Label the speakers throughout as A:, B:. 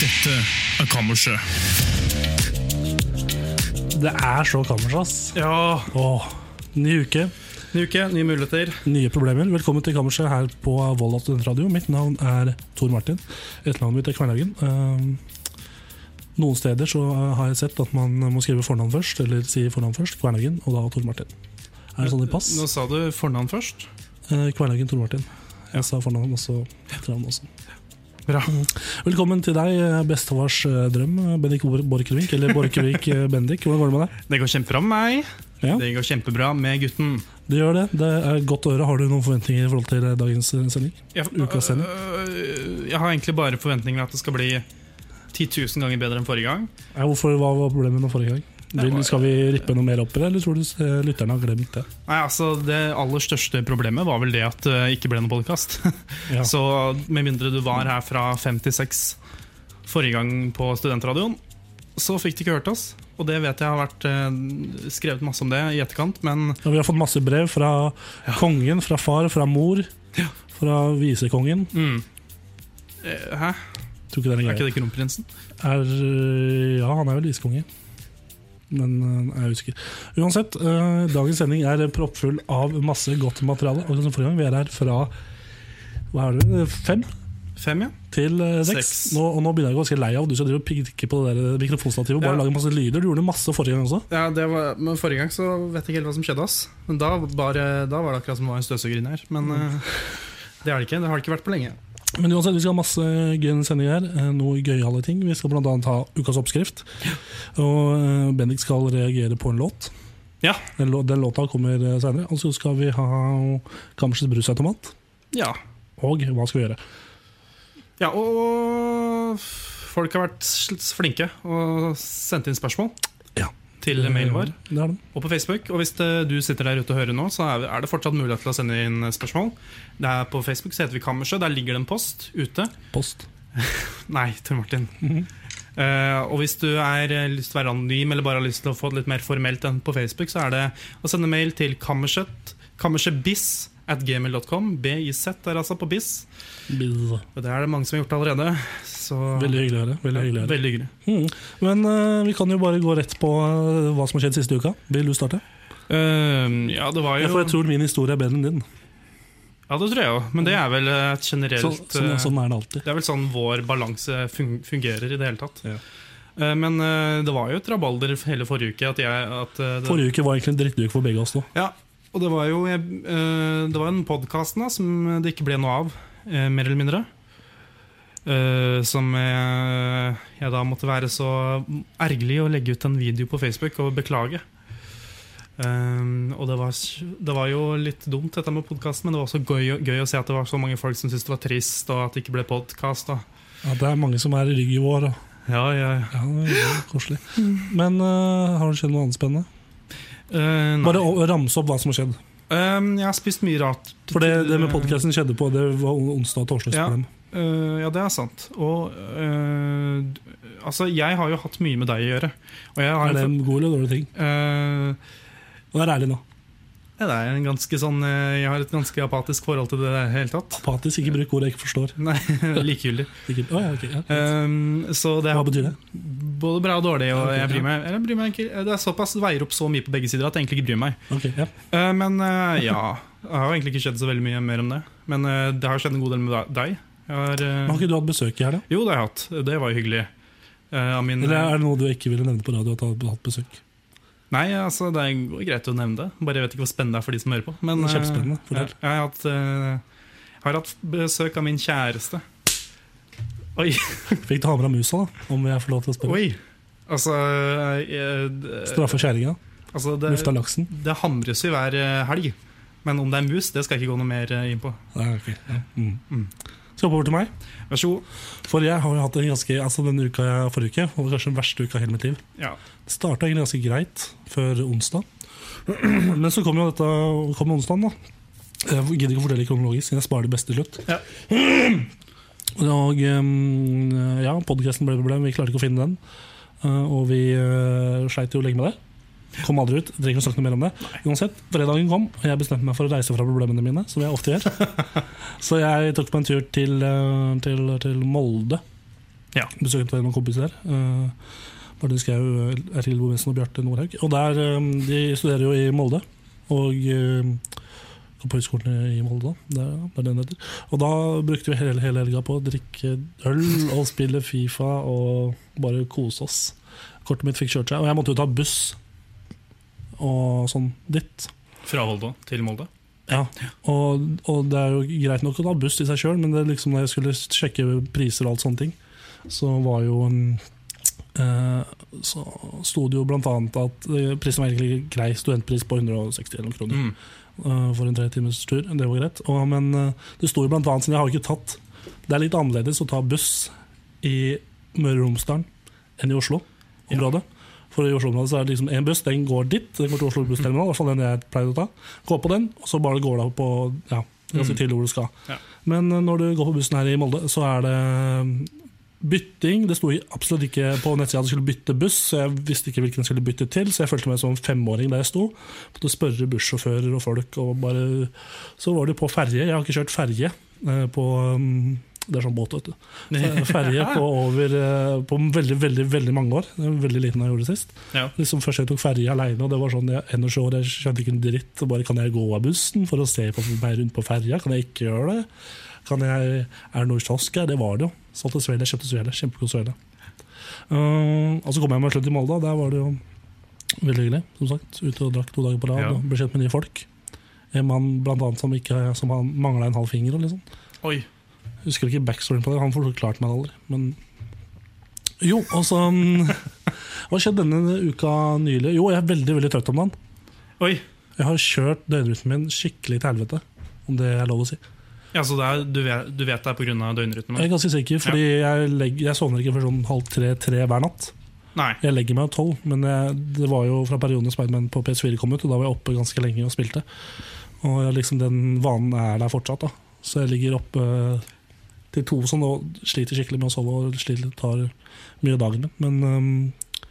A: Dette er kammerset.
B: Det er så kammers, ass.
A: Ja,
B: Åh. Ny uke,
A: ny uke, nye muligheter.
B: nye problemer. Velkommen til kammerset her på Volda studentradio. Mitt navn er Tor Martin. Etternavnet mitt er Kvernhagen. Ehm, Noen steder så eh, har jeg sett at man må skrive fornavn først, eller si fornavn først. Kvernhagen, og da Tor Martin. Er det sånn i pass?
A: Nå sa du fornavn først.
B: Eh, Kvernhagen, Tor Martin. Jeg sa fornavn, og så etternavn også. Mhm.
A: Bra.
B: Velkommen til deg, eh, bestefars eh, drøm, eh, Bendik Bor- Borchgrevink. Eller Borchgrevink eh, Bendik. Hvordan går det med deg?
A: Det går kjempebra med meg.
B: Ja.
A: Det går kjempebra med gutten.
B: Det gjør det. Det er godt å høre. Har du noen forventninger i forhold til eh, dagens eh, sending?
A: Jeg,
B: Ukas sending.
A: Øh, jeg har egentlig bare forventninger at det skal bli 10 000 ganger bedre enn forrige gang.
B: Ja, hvorfor, hva var problemet med forrige gang?
A: Det var-
B: Vil, skal vi rippe noe mer opp i det, eller tror du eh, lytterne har glemt det?
A: Nei, altså Det aller største problemet var vel det at det ikke ble noen podkast.
B: Ja.
A: Så med mindre du var her fra fem til seks forrige gang på studentradioen, så fikk du ikke hørt oss. Og det vet jeg har vært øh, skrevet masse om det i etterkant, men
B: Ja, vi har fått masse brev fra kongen, fra far, fra mor, fra visekongen.
A: Mm. Eh, Hæ?
B: Tror ikke det
A: Er
B: er en
A: ikke
B: greie.
A: det kronprinsen?
B: Er, eh, ja, han er vel iskonge. Men eh, jeg er usikker. Uansett, eh, dagens sending er proppfull av masse godt materiale. Akkurat som forrige gang. Vi er her fra hva er det, fem
A: Fem, ja.
B: til eh, seks.
A: Seks.
B: Nå, og nå begynner jeg å bli ganske lei av at du skal drive og pirke på det der eh, mikrofonstativet og bare
A: Ja.
B: lage masse lyder. Du gjorde det masse forrige gang også.
A: ja det var, men Forrige gang så vet jeg ikke helt hva som skjedde. ass Men Da, bare, da var det akkurat som det var en støvsuger inni her. Men eh, det er det ikke. Det har det ikke vært på lenge.
B: Men uansett, vi skal ha masse gøy sending her. eh, Noe gøyale ting. Vi skal bl.a. ha ukas oppskrift. Og eh, Bendik skal reagere på en låt.
A: Ja.
B: Den, lå- den låta kommer seinere. Og så skal vi ha Kammersets brusautomat.
A: Ja,
B: Og hva skal vi gjøre?
A: ja og folk har vært sl- flinke og sendt inn spørsmål
B: Ja.
A: til mailen vår
B: Eh, Det er den.
A: og på Facebook. Og hvis det, du sitter der ute og hører nå, så er, er det fortsatt mulighet til å sende inn spørsmål. Det er På Facebook så heter vi Kammerset. Der ligger det en post ute.
B: Post.
A: Nei, Tor Martin.
B: Mhm.
A: Eh, og hvis du er, eh, lyst til å være anonym eller bare har lyst til å få det litt mer formelt enn på Facebook, så er det å sende mail til kammerset, kammersetbiss at gmail.com. BIZ er altså på biss.
B: Biz.
A: Og det er det mange som har gjort allerede. Så
B: Veldig hyggelig å høre. Veldig hyggelig å høre.
A: Veldig hyggelig.
B: Mm. Men eh, vi kan jo bare gå rett på eh, hva som har skjedd siste uka. Vil du starte?
A: Eh, ja, det var
B: Ja,
A: jo
B: for jeg tror min historie er bedre enn din.
A: Ja, det tror jeg òg. Men det er vel eh, et
B: Så,
A: generelt
B: sånn,
A: eh,
B: sånn er det alltid.
A: Det er vel sånn vår balanse fun fungerer i det hele tatt.
B: Ja.
A: Eh, Men eh, det var jo et rabalder hele forrige uke. At jeg, at eh, det,
B: Forrige uke var egentlig en drittuke for begge oss nå.
A: Ja, og det var jo jeg, eh, Det var en podkast som det ikke ble noe av, eh, mer eller mindre. Eh, som jeg, jeg da måtte være så ergerlig å legge ut en video på Facebook og beklage. Eh, og det var, s- det var jo litt dumt, dette med podkasten, men det var også gøy, gøy å se at det var så mange folk som syntes det var trist, og at det ikke ble podkast.
B: Ja, det er mange som er i rygg i vår. Og
A: Ja, ja, ja.
B: Ja, det er veldig koselig. Men eh, har det skjedd noe annet spennende?
A: Eh, nei.
B: Bare å, å ramse opp hva som har skjedd.
A: Eh, jeg har spist mye rart.
B: For det, det med podkasten skjedde på Det var onsdag og torsdags
A: Ja.
B: problem.
A: Eh, ja, det er sant. Og eh, d- Altså, jeg har jo hatt mye med deg å gjøre. Og jeg har
B: Er det en god eller dårlig ting?
A: Eh,
B: Og det er ærlig nå.
A: ja, det er en ganske sånn eh, Jeg har et ganske apatisk forhold til det i det hele tatt.
B: Apatisk. Ikke bruk ord jeg ikke forstår.
A: Nei, likegyldig.
B: Ikke, å, ja, ok, ja.
A: Eh, så det
B: Hva
A: er
B: betyr det?
A: både bra og dårlig, og jeg bryr meg, eller jeg bryr meg ikke Det er såpass det veier opp så mye på begge sider at jeg egentlig ikke bryr meg.
B: Ok, ja.
A: Eh, men eh, ja Det har jo egentlig ikke skjedd så veldig mye mer om det. Men eh, det har skjedd en god del med deg. Jeg har, eh,
B: Men Har ikke du hatt besøk i helga?
A: Jo, det har jeg hatt. Det var jo hyggelig. Eh, av min,
B: Eller er det noe du ikke ville nevne på radio at du hadde hatt besøk?
A: Nei, altså, det er greit å nevne det. Bare jeg vet ikke hvor spennende det er for de som hører på. Men, eh,
B: Kjempespennende.
A: Jeg,
B: Fortell.
A: jeg har, hatt, eh, har hatt besøk av min kjæreste. Oi!
B: Fikk du ha med deg musa, da? Om jeg får lov til å spørre?
A: oi Altså, eh, d-
B: Straffe kjerringa?
A: altså det,
B: Lufta laksen?
A: det hamres i hver eh, helg. Men om det er mus, det skal jeg ikke gå noe mer eh, inn på.
B: Nei, ok. Ja. Mm. Skal hoppe over til meg.
A: Vær så god.
B: For jeg har jo hatt en ganske, altså denne uka jeg forrige uke, og kanskje den verste uka i hele mitt liv.
A: Ja.
B: Det starta egentlig ganske greit før onsdag. Men så kom jo dette kom onsdagen, da. Jeg gidder ikke å fortelle kronologisk, siden jeg sparer det beste til slutt.
A: Ja.
B: Og eh, ja, podkasten ble et problem, vi klarte ikke å finne den. Eh, Og vi eh, sleit jo lenge med det. Kom aldri ut. Trenger ikke å snakke noe mer om det. Uansett, fredagen kom, og jeg bestemte meg for å reise fra problemene mine. Som jeg ofte gjør Så jeg tok meg en tur til, eh, til, til Molde.
A: Ja.
B: Besøkte noen kompiser der. eh, Martin Skau, Eril Bovesen og Bjarte Nordhaug. Og der, eh, De studerer jo i Molde. Og eh, går på høyskolen i Molde, da. Det er, det er den det heter. Og da brukte vi hele, hele helga på å drikke øl og spille Fifa og bare kose oss. Kortet mitt fikk kjørt seg, og jeg måtte jo ta buss og sånn dit.
A: Fra Volda til Molde.
B: Ja, og, og det er jo greit nok å ta buss i seg sjøl, men det er liksom når jeg skulle sjekke priser og alt sånne ting, så var jo mm, eh, Så sto det jo blant annet at eh, prisen var egentlig grei, studentpris på 160 eller noen kroner
A: Mm.
B: eh, for en tre timers tur. Det var greit. Og, men eh, det sto jo blant annet, siden jeg har jo ikke tatt Det er litt annerledes å ta buss i Møre og Romsdal enn i Oslo-området. For i Oslo-området så er det liksom en buss, den går dit. Den går til Oslo bussterminal, i hvert fall den jeg pleide å ta. Gå på den, og så bare går du på ja, ganske tidlig hvor du skal.
A: Ja.
B: Men eh, når du går på bussen her i Molde, så er det eh, bytting. Det sto i- absolutt ikke på nettsida at du skulle bytte buss, så jeg visste ikke hvilken jeg skulle bytte til, så jeg følte meg som en femåring der jeg sto. Måtte spørre bussjåfører og folk, og bare Så var det på ferje. Jeg har ikke kjørt ferje eh, på mm, Det er sånn båt, vet du. Eh, Ferje på over eh, På veldig, veldig veldig mange år. Det er Veldig liten jeg gjorde det sist.
A: Ja.
B: Liksom Først jeg tok ferje aleine, og det var sånn jeg, 21 år, jeg skjønte ikke en dritt. og Bare kan jeg gå av bussen for å se på meg rundt på ferja? Kan jeg ikke gjøre det? Kan jeg, er det noe kiosk her? Det var det jo. Solgte svele, kjøpte svele. Kjempegod svele. Eh, og så kom jeg meg slutt i Molde. Der var det jo veldig hyggelig, som sagt. Ute og drakk to dager på rad
A: Ja.
B: og ble kjent med nye folk. En mann blant annet som, ikke- som mangla en halv finger. og Liksom.
A: Oi.
B: Husker ikke backstoryen på det, han forklarte meg det aldri. Men jo, og så mm, Hva skjedde denne uka nylig? Jo, jeg er veldig veldig trøtt om dagen.
A: Oi.
B: Jeg har kjørt døgnrytmen min skikkelig til helvete, om det er lov å si.
A: Ja, så det er, du, vet, du vet det er pga. døgnrytmen?
B: Jeg er ganske sikker, fordi jeg, legger, jeg sovner ikke før sånn halv tre-tre hver natt.
A: Nei.
B: Jeg legger meg jo tolv, men jeg, det var jo fra perioden Spiderman på PS4 kom ut, og da var jeg oppe ganske lenge og spilte. Og jeg, liksom, den vanen er der fortsatt, da. Så jeg ligger oppe til to sånn, og sliter skikkelig med å sove og sliter, tar mye av dagen min. Men øhm,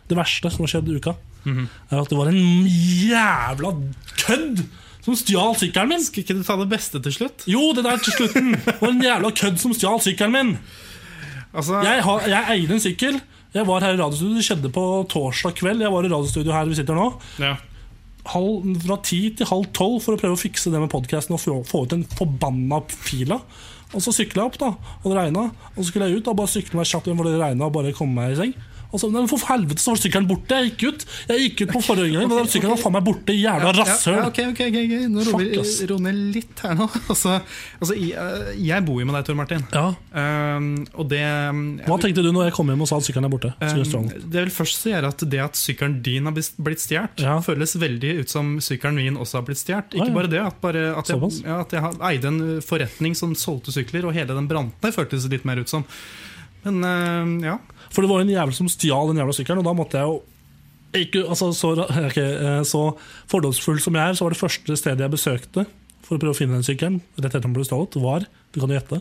B: det verste som har skjedd i uka,
A: Mhm.
B: er at det var en jævla kødd som stjal sykkelen min!
A: Skal ikke du ta det beste til slutt?
B: Jo, det der til slutten! Det var en jævla kødd som stjal sykkelen min!
A: Altså,
B: Jeg, har, jeg eier en sykkel. Jeg var her i radiostudio, det skjedde på torsdag kveld. Jeg var i radiostudio her vi sitter nå.
A: ja.
B: Halv, fra ti til halv tolv for å prøve å fikse det med podkasten og få, få ut den forbanna fila. Og så sykla jeg opp, da, og det regna. Og så skulle jeg ut og bare sykle meg kjapt hjem, for det regna, og bare komme meg i seng. Og så, nei, men For helvete, så var sykkelen borte! Jeg gikk ut Jeg gikk ut på forrige gang, men den sykkelen var faen meg borte! Jævla rasshøl!
A: Ja, ja, ok, ok, ok, ok. Nå roer
B: Fuck, ass.
A: vi- roer ned litt her nå. Altså, altså, jeg, jeg bor jo med deg, Tor Martin.
B: Ja.
A: Um, og det
B: Hva tenkte du når jeg kom hjem og sa at sykkelen er borte? Skulle jeg
A: um,
B: stråle.
A: Det vil først si er at det at sykkelen din har bist- blitt stjålet,
B: Ja.
A: føles veldig ut som sykkelen min også har blitt stjålet.
B: Ah,
A: Ikke
B: ja.
A: bare det, at, bare at, jeg,
B: Såpass?
A: ja, at jeg har- eide en uh, forretning som solgte sykler, og hele den brant ned, føltes det litt mer ut som. Men um, ja.
B: For det var jo en jævel som stjal den jævla sykkelen, og da måtte jeg jo ikke, altså, så, ra- ok, eh, så fordomsfull som jeg er, så var det første stedet jeg besøkte for å prøve å finne den sykkelen, rett etter den ble stjålet, var du kan jo gjette,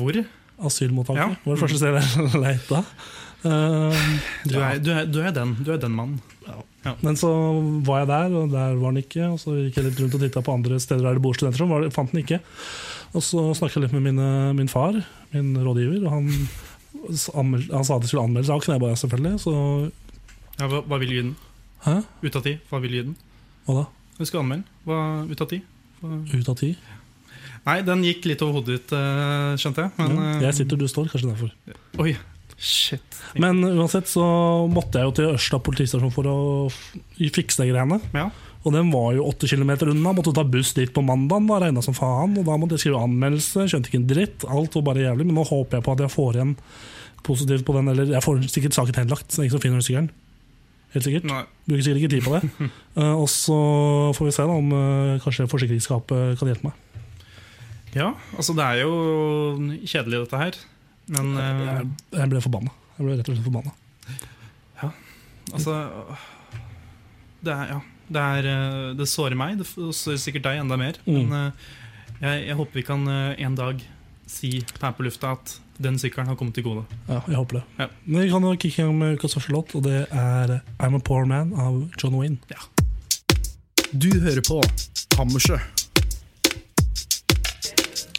A: Hvor? Ja.
B: asylmottaket. var det første stedet jeg leita. Eh,
A: Du
B: ja.
A: er, du er, du er den Du er den mannen.
B: Men så var jeg der, og der var den ikke. Og så gikk jeg litt rundt og titta på andre steder der det bor studenter. Var det, fant den ikke. Og så snakka jeg litt med mine, min far, min rådgiver. Og han, s- anmel- han sa at de skulle anmelde saken. Jeg bare selvfølgelig. Så
A: Ja, hva, hva vil lyden?
B: hæ,
A: Ut av ti? Hva vil lyden?
B: hva da?
A: Du skal anmelde. Hva, ut av ti? Hva-
B: Ut av ti?
A: Nei, den gikk litt over hodet ditt, eh, skjønte jeg. Men,
B: ja.
A: eh,
B: Jeg sitter, du står, kanskje derfor.
A: Oi, shit.
B: Men uansett så måtte jeg jo til Ørsta politistasjon for å f- fikse de greiene.
A: Ja.
B: Og den var jo åtte kilometer unna. Måtte ta buss dit på mandagen, da regna som faen. Og da måtte jeg skrive anmeldelse, skjønte ikke en dritt. Alt var bare jævlig. Men nå håper jeg på at jeg får igjen positivt på den, eller jeg får sikkert saken henlagt. Så det er ingen som finner den sykkelen. Helt sikkert.
A: Nei.
B: Bruker sikkert ikke tid på det. Eh, og så får vi se da om eh, kanskje forsikringsskapet kan hjelpe meg.
A: Ja, altså det er jo kjedelig dette her. Men eh,
B: Jeg, jeg ble forbanna. Jeg ble rett og slett forbanna.
A: altså Det er ja. Det, er, eh, det sårer meg, det f- det sårer sikkert deg enda mer.
B: Mm.
A: Men eh, jeg, jeg håper vi kan eh, en dag si her på lufta at den sykkelen har kommet til gode.
B: Ja, jeg håper det.
A: Ja.
B: Men vi kan jo kicke i gang med ukas første låt, og det er eh, I'm a Poor Man av John Wayne.
C: Du hører på Kammerset.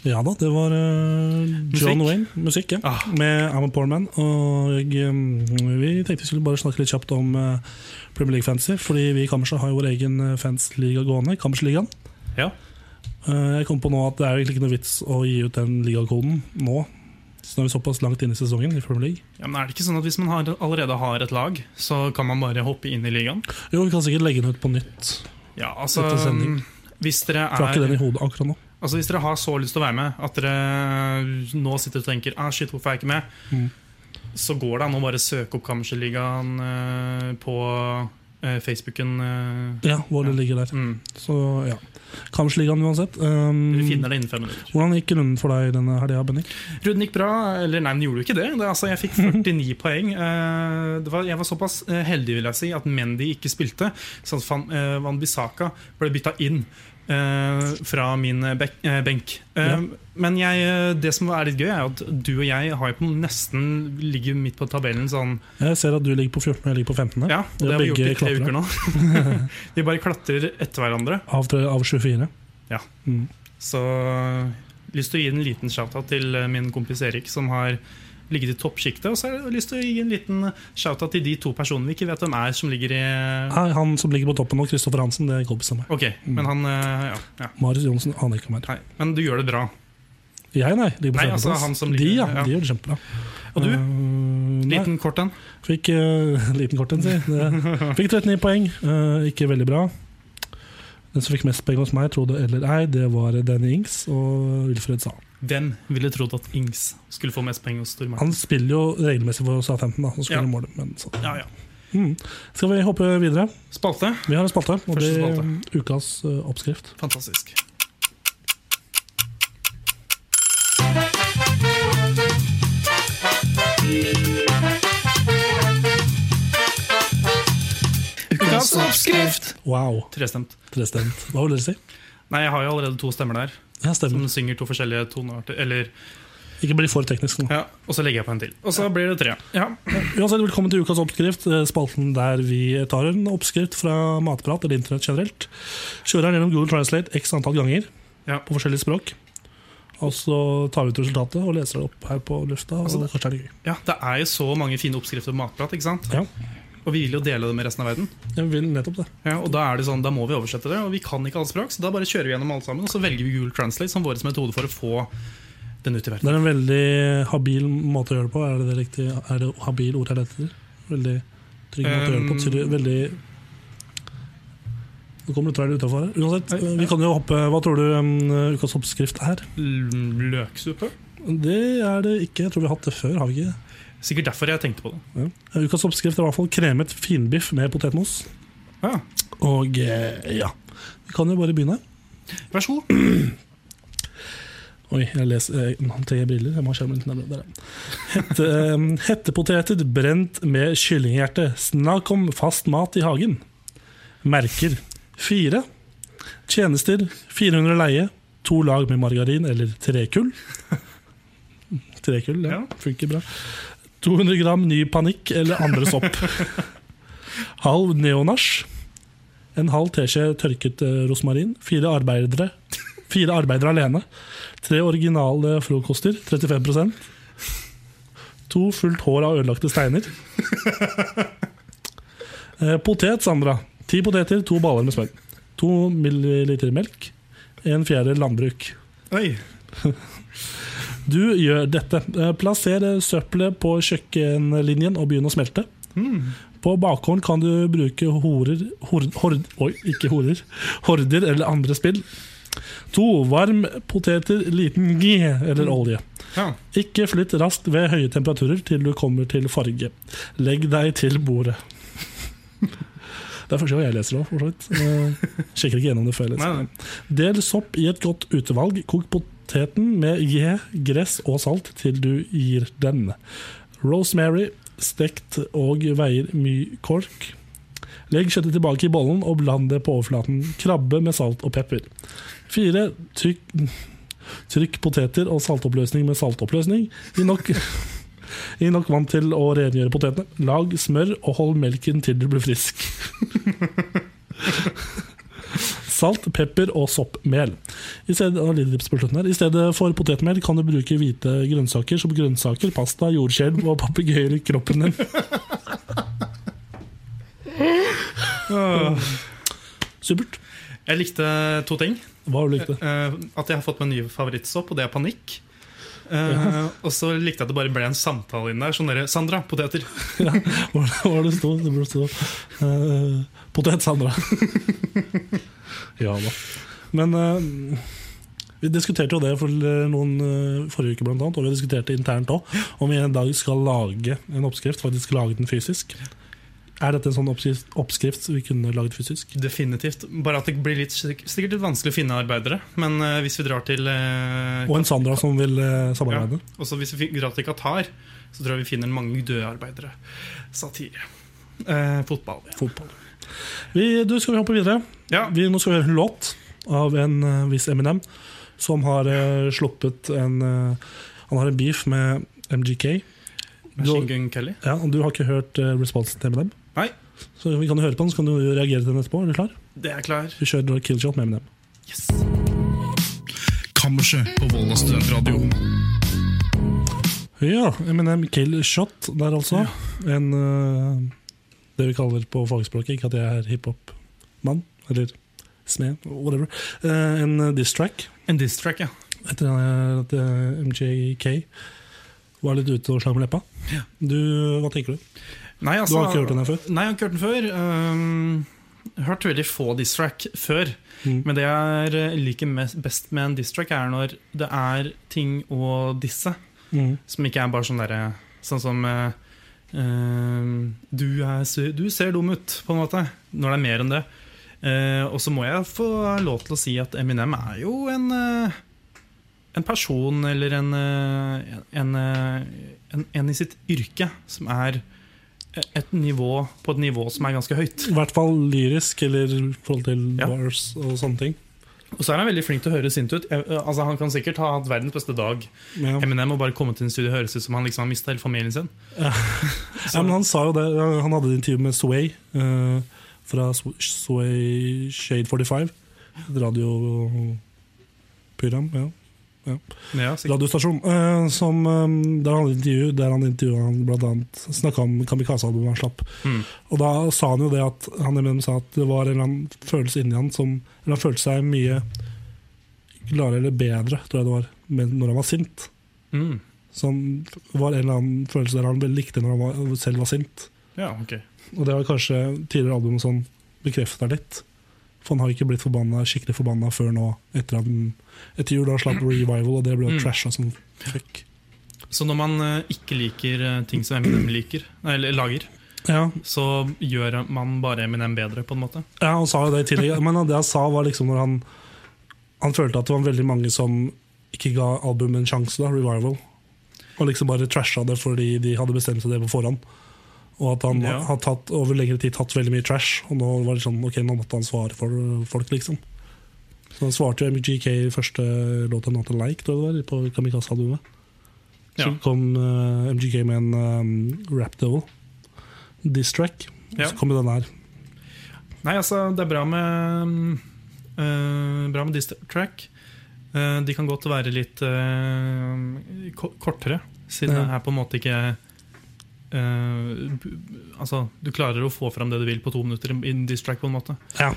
B: Ja da, det var eh, John
A: Musikk.
B: Wayne. Musikk, ja.
A: Ah.
B: Med I'm a Poor Man. Og eh, vi tenkte vi skulle bare snakke litt kjapt om eh, Premier League Fantasy, fordi vi i Kammerset har jo vår egen eh, fansliga gående, Kammersligaen.
A: Ja.
B: Eh, Jeg kom på nå at det er jo egentlig ikke noe vits å gi ut den ligakoden nå. Så nå er vi såpass langt inn i sesongen i Premier League.
A: Ja, men er det ikke sånn at Hvis man har, allerede har et lag, så kan man bare hoppe inn i ligaen?
B: Jo, vi kan sikkert legge den ut på nytt.
A: Ja, altså
B: Etter sending.
A: hvis dere,
B: For jeg har ikke den
A: er,
B: i hodet akkurat nå.
A: altså hvis dere har så lyst til å være med at dere nå sitter og tenker ah, shit, hvorfor er jeg ikke med,
B: Mm.
A: så går det an å bare søke opp Kammerset-ligaen eh, på eh, Facebooken. eh.
B: Ja, hvor det ligger der.
A: Mm.
B: Så ja. Kammersligaen uansett. Um,
A: Dere finner det innen fem minutter.
B: hvordan gikk runden for deg denne helga, Bennik?
A: Ruden gikk bra. Eller nei, den gjorde jo ikke det. det altså, jeg fikk 49 poeng. Eh, Det var, jeg var såpass eh, heldig vil jeg si at Mendy ikke spilte, så at Van, eh, Van Bissaka ble bytta inn. eh, fra min eh, bek eh, benk. Eh,
B: Ja.
A: Men jeg, eh, det som er litt gøy, er at du og jeg har jo på nesten ligger midt på tabellen. Sånn,
B: Jeg ser at du ligger på 14, og jeg ligger på 15.
A: ja, og
B: Ja,
A: det har vi
B: begge
A: gjort i tre
B: klatrer.
A: uker nå. Vi bare klatrer etter hverandre.
B: Av, tre, av 24.
A: Ja.
B: Mm.
A: Så eh, lyst til å gi en liten shout-out til eh, min kompis Erik, som har ligget i toppsjiktet. Og så har jeg lyst til å gi en liten eh, shout-out til de to personene vi ikke vet hvem er, som ligger i eh,
B: Nei, Han som ligger på toppen nå, Kristoffer Hansen, det er kompisen min.
A: Ok, men han eh, ja, ja.
B: Marius Johnsen aner ikke om her.
A: Nei, men du gjør det bra.
B: Jeg, nei. Ligger på
A: Nei, altså,
B: femteplass.
A: han som
B: de,
A: ligger-
B: ja,
A: ja.
B: de gjør det kjempebra.
A: Og du?
B: Eh, nei,
A: Liten kort en.
B: Fikk eh, liten kort en, si. Det- Fikk 39 poeng, eh, ikke veldig bra. Den som fikk mest poeng hos meg, tro det eller ei, det var Danny Ings og Wilfred Zaha.
A: Hvem ville trodd at Ings skulle få mest penger hos Stormark?
B: Han spiller jo regelmessig for Southampton, da, så skårer
A: Ja.
B: han målet. Men så.
A: Ja, ja.
B: Mm. Skal vi hoppe videre?
A: Spalte.
B: Vi har en spalte, og det
A: Første
B: er
A: spalte.
B: ukas eh, oppskrift.
A: Fantastisk. Ukas oppskrift!
B: Wow,
A: Trestemt.
B: trestemt. Hva vil dere si?
A: Nei, jeg har jo allerede to stemmer der.
B: Ja,
A: Som
B: stemmer.
A: synger to forskjellige tonearter. Eller, Sånn.
B: Ikke bli for teknisk nå.
A: ja, og så legger jeg på en til. Og så blir det tre. Ja.
B: Uansett, Velkommen til ukas oppskrift, eh, spalten der vi tar en oppskrift fra matprat eller internett generelt. Kjører den gjennom Google Translate x antall ganger
A: Ja.
B: på forskjellige språk. Og så tar vi ut resultatet og leser det opp her på lufta. Og
A: Altså, det-
B: kanskje er det gøy.
A: ja, Det er jo så mange fine oppskrifter på matprat, ikke sant?
B: Ja.
A: og vi vil jo dele det med resten av verden.
B: Jeg vil nettopp det.
A: Ja, og Da er det sånn, da må vi oversette det, og vi kan ikke alle språk, så da bare kjører vi gjennom alle sammen, og så velger vi Google Translate som vår metode for å få den ut i verden.
B: Det er en veldig habil måte å gjøre det på. Er det det riktig? Er det habil ord jeg leter etter? Veldig trygg måte å gjøre det på.
A: Um,
B: Tydelig, veldig Nå kommer du trær utafor her. Uansett,
A: Nei,
B: eh, vi kan jo hoppe. Hva tror du um, ukas oppskrift er?
A: L- Løksuppe?
B: Det er det ikke. Jeg tror vi har hatt det før, har vi ikke?
A: Sikkert derfor jeg tenkte på det.
B: Ja. Eh, Ukas oppskrift er i hvert fall kremet finbiff med potetmos.
A: Ja.
B: Og eh, ja Vi kan jo bare begynne.
A: Vær så god.
B: Oi, jeg leser eh, Nå tar jeg briller. Jeg må ha skjermen litt nærmere. Der, ja. Hette, eh, hettepoteter brent med kyllinghjerte. Snakk om fast mat i hagen. Merker fire. Tjenester 400 leie. To lag med margarin eller trekull. Trekull, ja.
A: Ja.
B: Funker bra. 200 gram ny panikk eller andre sopp. Halv neonasj. En halv teskje tørket eh, rosmarin. Fire arbeidere Fire arbeidere alene. Tre originale frokoster, 35 To fullt hår av ødelagte steiner. Eh, Potet, Sandra. Ti poteter, to baller med smør. To milliliter melk. En fjerde landbruk.
A: Oi.
B: Du gjør dette. Eh, Plasser eh, søppelet på kjøkkenlinjen og begynn å smelte.
A: Mm.
B: På bakhånd kan du bruke horer hor, hord, Oi, ikke horer. Horder eller andre spill. To varm poteter, liten g eller olje.
A: Ja.
B: Ikke flytt raskt ved høye temperaturer til du kommer til farge. Legg deg til bordet. Det er første gang jeg leser det òg, for så vidt. Eh, Sjekker ikke gjennom det før jeg leser.
A: Nei, nei.
B: Del sopp i et godt utevalg. Kok poteten med G, gress og salt til du gir den. Rosemary stekt og veier mye kork. Legg kjøttet tilbake i bollen og bland det på overflaten. Krabbe med salt og pepper. Fire, Trykk, trykk poteter og saltoppløsning med saltoppløsning. Gi nok, gi nok vann til å rengjøre potetene. Lag smør og hold melken til du blir frisk. Salt, pepper og soppmel. I stedet, å, litt dips på slutten her. I stedet for potetmel kan du bruke hvite grønnsaker som grønnsaker, pasta, jordskjelv og papegøyer i kroppen din.
A: Åh.
B: Supert.
A: Jeg likte to ting.
B: Hva har du likte?
A: Eh, at jeg har fått meg en ny favorittsopp, og det er panikk. Eh, Og så likte jeg at det bare ble en samtale inn der. Sånn derre Sandra, poteter.
B: Hva var det det sto? Det burde stå eh, Potet Sandra. ja da. Men eh, vi diskuterte jo det for noen eh, forrige uke, blant annet, og vi diskuterte internt òg, om vi en dag skal lage en oppskrift, faktisk lage den fysisk. Er dette en sånn oppskrift, oppskrift vi kunne laget fysisk?
A: Definitivt. Bare at det blir litt, sikkert litt vanskelig å finne arbeidere. Men eh, hvis vi drar til eh,
B: Og en Sandra som vil eh, samarbeide?
A: Også hvis vi drar til Qatar, så tror jeg vi finner mange døde arbeidere. Satire. Eh, fotball.
B: Fotball. Vi, du, skal vi hoppe videre?
A: Ja.
B: Vi, nå skal vi høre en låt av en eh, viss Eminem, som har eh, sluppet en eh, Han har en beef med MGK.
A: Machine Gun Kelly.
B: Ja, og Du har ikke hørt eh, responsen til Eminem?
A: Nei.
B: Så vi kan jo høre på den, så kan du reagere til den etterpå. Er du klar?
A: Det er klar.
B: Vi kjører Killshot med Eminem.
A: Yes.
C: Kammerset på Volda studentradio.
B: Ja, Eminem Killshot der, altså. En eh, Det vi kaller på fagspråket, ikke at jeg er hiphop-mann, eller smed, whatever. Eh, en eh, diss track
A: En diss-track, ja.
B: etter at eh, MJK var litt ute og slang med leppa. Du, hva tenker du?
A: Nei, altså-
B: Du har ikke hørt den her før?
A: Nei, jeg har ikke hørt den før. Um, hørt veldig få diss-track før.
B: Mm.
A: Men det jeg er- eh, liker mest- best med en diss-track, er når det er ting å disse,
B: Mm.
A: som ikke er bare sånn derre Sånn som eh, um, du, er, su- du ser dum ut, på en måte. Når det er mer enn det. Eh, og så må jeg få lov til å si at Eminem er jo en eh, en person eller en, eh, en, eh, en, en i sitt yrke som er et nivå, på et nivå som er ganske høyt.
B: I hvert fall lyrisk, eller i forhold til
A: Ja.
B: bars og sånne ting.
A: Og så er han veldig flink til å høres sint ut. Eh, Altså, han kan sikkert ha hatt verdens beste dag.
B: Ja.
A: Eminem må bare komme til en studio og høres ut som han liksom har mista hele familien sin.
B: Ja, men han sa jo det, han hadde et intervju med Sway eh, fra Sw- Sway Shade 45. Et radioprogram, ja.
A: Ja, sikkert.
B: radiostasjon. eh, som, eh, der han intervju, der han intervjua han blant annet snakka om Kamikaze-albumet han slapp.
A: Mm.
B: Og da sa han jo det at han Eminem sa at det var en eller annen følelse inni han som eller Han følte seg mye gladere eller bedre, tror jeg det var, men når han var sint.
A: Mm.
B: Så han var en eller annen følelse der han vel likte når han var, selv var sint.
A: ja ok.
B: Og det var kanskje tidligere album som bekrefta litt. For han har ikke blitt forbanna, skikkelig forbanna før nå, etter, at, den- etter jul. Da slapp Revival, og det ble jo
A: Mm.
B: trasha som fuck.
A: Så når man eh, ikke liker eh, ting som Eminem liker, eller lager,
B: Ja,
A: så gjør man bare Eminem bedre, på en måte.
B: Ja, han sa jo det i tillegg. Men det han sa, var liksom når han Han følte at det var veldig mange som ikke ga albumet en sjanse, da, Revival. Og liksom bare trasha det fordi de hadde bestemt seg det på forhånd. Og at han
A: Ja.
B: har tatt, over lengre tid tatt veldig mye trash. Og nå var det sånn, ok, nå måtte han svare for folk, liksom. Så han svarte jo MGK i første låta, 'Not a Like', tror jeg det var, på Kamikaze-albumet. Så
A: Ja.
B: kom eh, MGK med en eh, rap devil, diss track. Og
A: Ja.
B: så kom jo den her.
A: Nei, altså, det er bra med mm, eh, Bra med diss track. Eh, de kan godt være litt eh, ko- kortere, siden
B: Ja.
A: det er på en måte ikke eh, b- Altså, du klarer å få fram det du vil på to minutter i en diss track, på en måte.
B: Ja.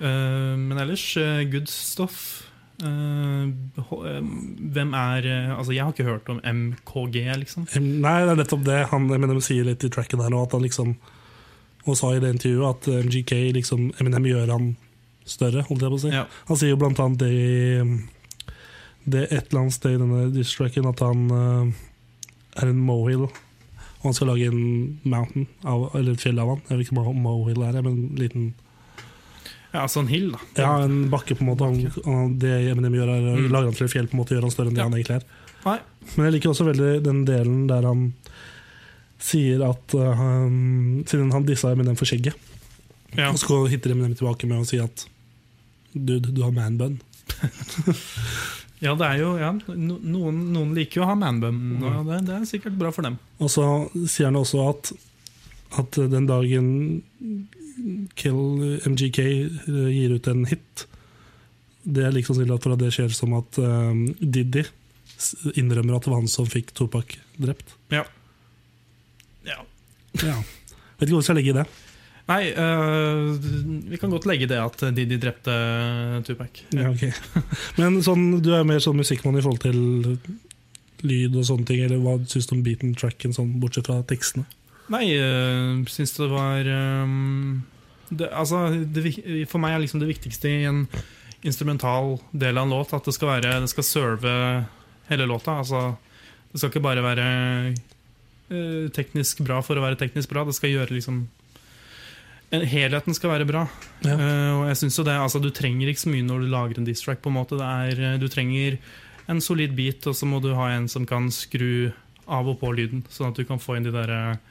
A: Eh, men ellers, eh, good stuff. Eh, ho- eh, hvem er eh, Altså, jeg har ikke hørt om MKG, liksom.
B: Nei, det er nettopp det han Eminem sier litt i tracken her nå. At han liksom Og sa i det intervjuet at eh, MGK liksom Eminem gjør han større, holdt jeg på å si.
A: Ja.
B: Han sier jo blant annet det i um, Det et eller annet sted i denne diss-tracken at han eh, er en mohill. Og han skal lage en mountain, av, eller et fjell av han. Jeg vet ikke hva Mohill er, men en liten
A: Ja, sånn hill, da.
B: Ja, en bakke, på en måte. Han, han, det Eminem gjør, er å
A: Mm.
B: lage han til et fjell, på en måte, gjør han større enn det
A: Ja.
B: han egentlig er.
A: Nei.
B: Men jeg liker også veldig den delen der han sier at eh, han, Siden han dissa Eminem for skjegget,
A: Ja.
B: og så hitter Eminem tilbake med å si at Dude, du har manbun.
A: ja, det er jo ja, no, noen, noen liker jo å ha manbum, og det, det er sikkert bra for dem.
B: Og så sier han også at, at den dagen Kill MGK eh, gir ut en hit Det er like sannsynlig at for at det skjer som at eh, Diddy s- innrømmer at det var han som fikk Topak drept.
A: Ja. ja.
B: Ja. Vet ikke hvor vi skal legge i det.
A: Nei, øh, vi kan godt legge det at de, de drepte Tupac.
B: Ja, ok. Men sånn, du er mer sånn musikkmann i forhold til lyd og sånne ting, eller hva syns du om beaten, tracken, sånn, bortsett fra tekstene?
A: Nei, øh, syns det var øhm, det, Altså, det, vi- for meg er liksom det viktigste i en instrumental del av en låt at det skal være Det skal serve hele låta. Altså, det skal ikke bare være øh, teknisk bra for å være teknisk bra. Det skal gjøre liksom en- Helheten skal være bra.
B: Ja.
A: Eh, og jeg synes jo det, altså Du trenger ikke så mye når du lager en diss track. på en måte det er, eh, Du trenger en solid beat, og så må du ha en som kan skru av og på lyden. Sånn at du kan få inn de der eh,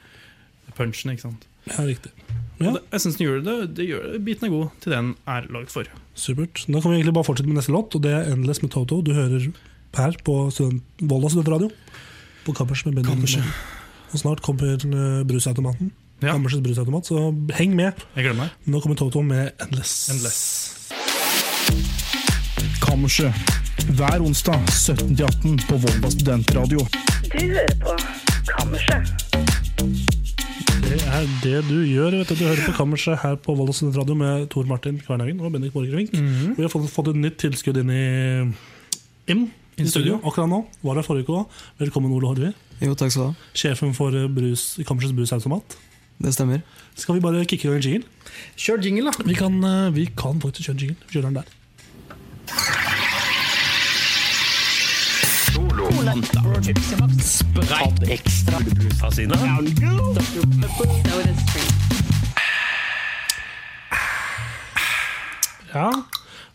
A: punchene. ikke sant
B: Ja, riktig.
A: Og
B: Ja,
A: det, Jeg synes den gjør det, det gjør, Beaten er god til den er laget for.
B: supert. Da kan vi egentlig bare fortsette med neste låt, og det er 'Endless' med Toto. Du hører her på student, Volda studentradio. På Kammers med Benjamin.
A: Kammerset.
B: Bakken. Og snart kommer eh, brusautomaten.
A: Ja.
B: Kammers' brusautomat, så heng med.
A: Jeg gleder meg.
B: Nå kommer Toto med 'Endless'.
A: Endless.
C: Kammerset. Hver onsdag 17-18 på Volda studentradio.
D: Du hører på Kammerset.
B: Det er det du gjør. Vet du. du hører på Kammerset her på Volda Studentradio med Tor Martin Kvernhagen og Bendik Borgervink. Vi har fått, fått et nytt tilskudd inn i Mhm. inn, i studio akkurat nå. Var her forrige uke òg. Velkommen, Ole Horvi.
E: Jo, takk skal du ha.
B: Sjefen for eh, brus, Kammersets brusautomat.
E: Det stemmer.
B: Skal vi bare kicke i gang en jingle?
A: Kjør jingle, da!
B: Vi kan, eh, vi kan faktisk kjøre en jingle. Vi kjører den der. Ja.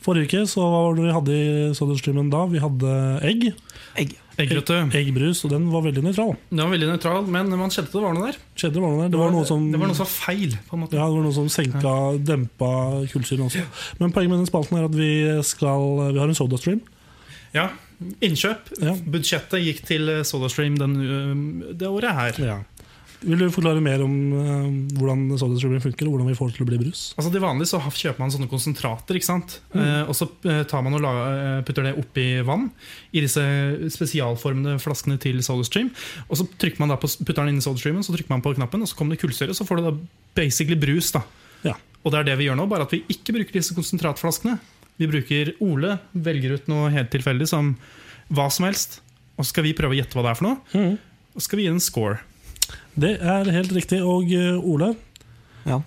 B: Forrige uke så hva var det vi hadde i Soderstreamen da? Vi hadde egg.
E: Egg.
A: Eggrøtte.
B: Eggbrus, og den var veldig nøytral.
A: Den var veldig nøytral, men man kjente det var noe der.
B: Skjedde det var noe der. Det var noe som
A: det var noe som var feil. på en måte
B: Ja, det var noe som senka, dempa kullsyren også. Men poenget med den spalten er at vi skal Vi har en sodastream.
A: Ja, Innkjøp.
B: Ja.
A: Budsjettet gikk til eh, SodaStream den, eh, det året her.
B: Vil du forklare mer om eh, hvordan sodastreamen funker, og hvordan vi får det til å bli brus?
A: Altså Til vanlig så ha- kjøper man sånne konsentrater, ikke sant? Eh, og så eh, tar man og la, eh, putter det oppi vann i disse spesialformede flaskene til SodaStream. Og så trykker man da på, putter den inn i SodaStreamen, så trykker man på knappen, og så kommer det kullsyre. Så får du da basically brus. da
B: Ja.
A: Og det er det vi gjør nå, bare at vi ikke bruker disse konsentratflaskene. Vi bruker Ole, velger ut noe helt tilfeldig som hva som helst, og så skal vi prøve å gjette hva det er for noe. Og så skal vi gi det en score.
B: Det er helt riktig. Og eh, Ole,
E: Ja.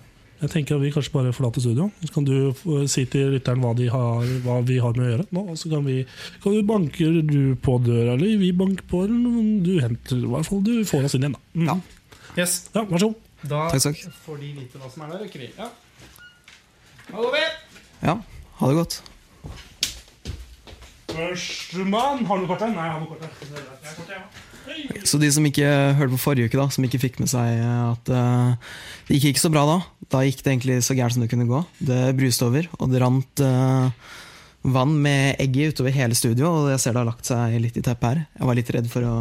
B: jeg tenker at vi kanskje bare forlater studio. Så kan du eh, si til lytteren hva, de har, hva vi har med å gjøre nå. Og så kan vi kan du Banker du på døra, eller vi banker på den? men Du henter i hvert fall du får oss inn igjen, da.
E: Ja.
A: Yes,
B: Ja, Vær så god.
A: Da
E: Takk, takk.
A: får de vite hva som er der, ikke vi? Ja. Hallo, vi!
E: ja. Ha det godt.
B: Førstemann! Har du noe kort her? Nei, jeg har noe kort her.
E: Så de som ikke hørte på forrige uke, da, som ikke fikk med seg eh, at eh, det gikk ikke så bra da, da gikk det egentlig så gærent som det kunne gå. Det bruste over, og det rant eh, vann med egg i utover hele studio, og jeg ser det har lagt seg litt i teppet her. Jeg var litt redd for å